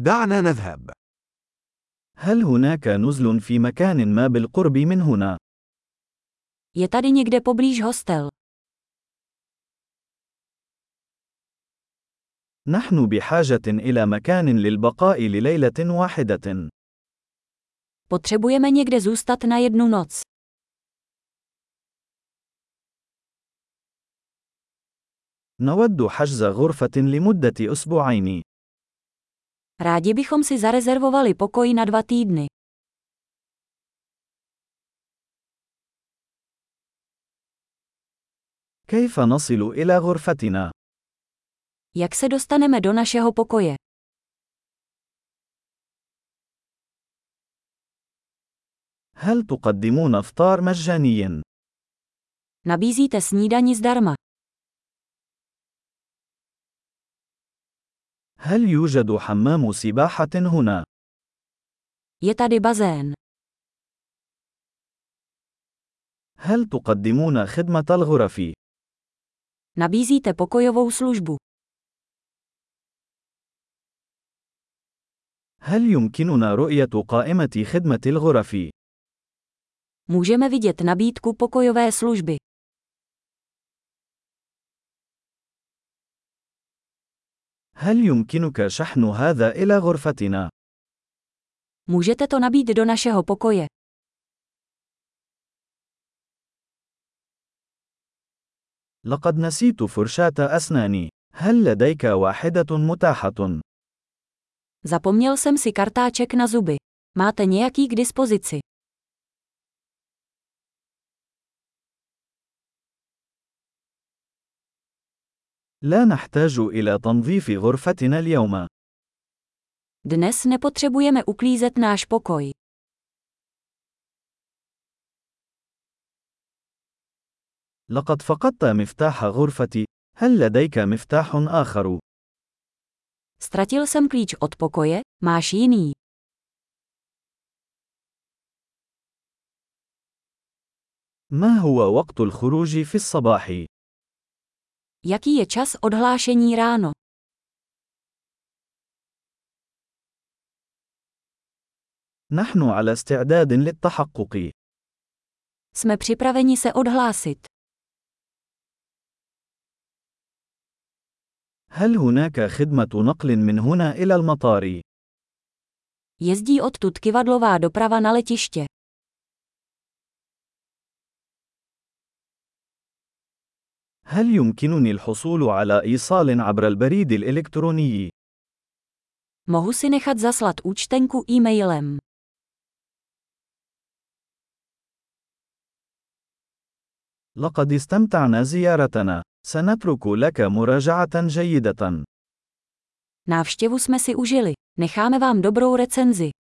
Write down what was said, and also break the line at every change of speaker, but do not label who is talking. دعنا نذهب.
هل هناك نزل في مكان ما بالقرب من هنا؟
Je tady někde poblíž hostel.
نحن بحاجة إلى مكان للبقاء لليلة واحدة.
Potřebujeme někde zůstat na jednu noc.
نود حجز غرفة لمدة أسبوعين.
Rádi bychom si zarezervovali pokoj na dva týdny.
كيف نصل إلى غرفتنا؟
Jak se dostaneme do našeho pokoje?
هل تقدمون إفطار مجاني؟
Nabízíte snídani zdarma.
هل يوجد حمام سباحة هنا؟
Je tady bazén.
هل تقدمون خدمة الغرف؟
Nabízíte pokojovou službu.
هل يمكننا رؤية قائمة خدمة الغرف؟
Můžeme vidět nabídku pokojové služby.
هل يمكنك شحن هذا إلى غرفتنا؟
Můžete to nabít do našeho pokoje.
لقد نسيت فرشاة أسناني. هل لديك واحدة متاحة؟
Zapomněl jsem si kartáček na zuby. Máte nějaký k dispozici?
لا نحتاج إلى تنظيف غرفتنا اليوم.
Dnes nepotřebujeme uklízet náš pokoj.
لقد فقدت مفتاح غرفتي. هل لديك مفتاح آخر؟
Ztratil jsem klíč od pokoje, máš jiný.
ما هو وقت الخروج في الصباح؟
Jaký je čas odhlášení ráno?
نحن على استعداد للتحقق.
Jsme připraveni se odhlásit.
هل هناك خدمة نقل من هنا إلى المطار؟
Jezdí odtud kivadlová doprava na letiště.
هل يمكنني الحصول على إيصال عبر البريد الإلكتروني؟
Mohu si nechat zaslat účtenku e-mailem.
لقد استمتعنا زيارتنا. سنترك لك مراجعة جيدة.
Návštěvu jsme si užili. Necháme vám dobrou recenzi.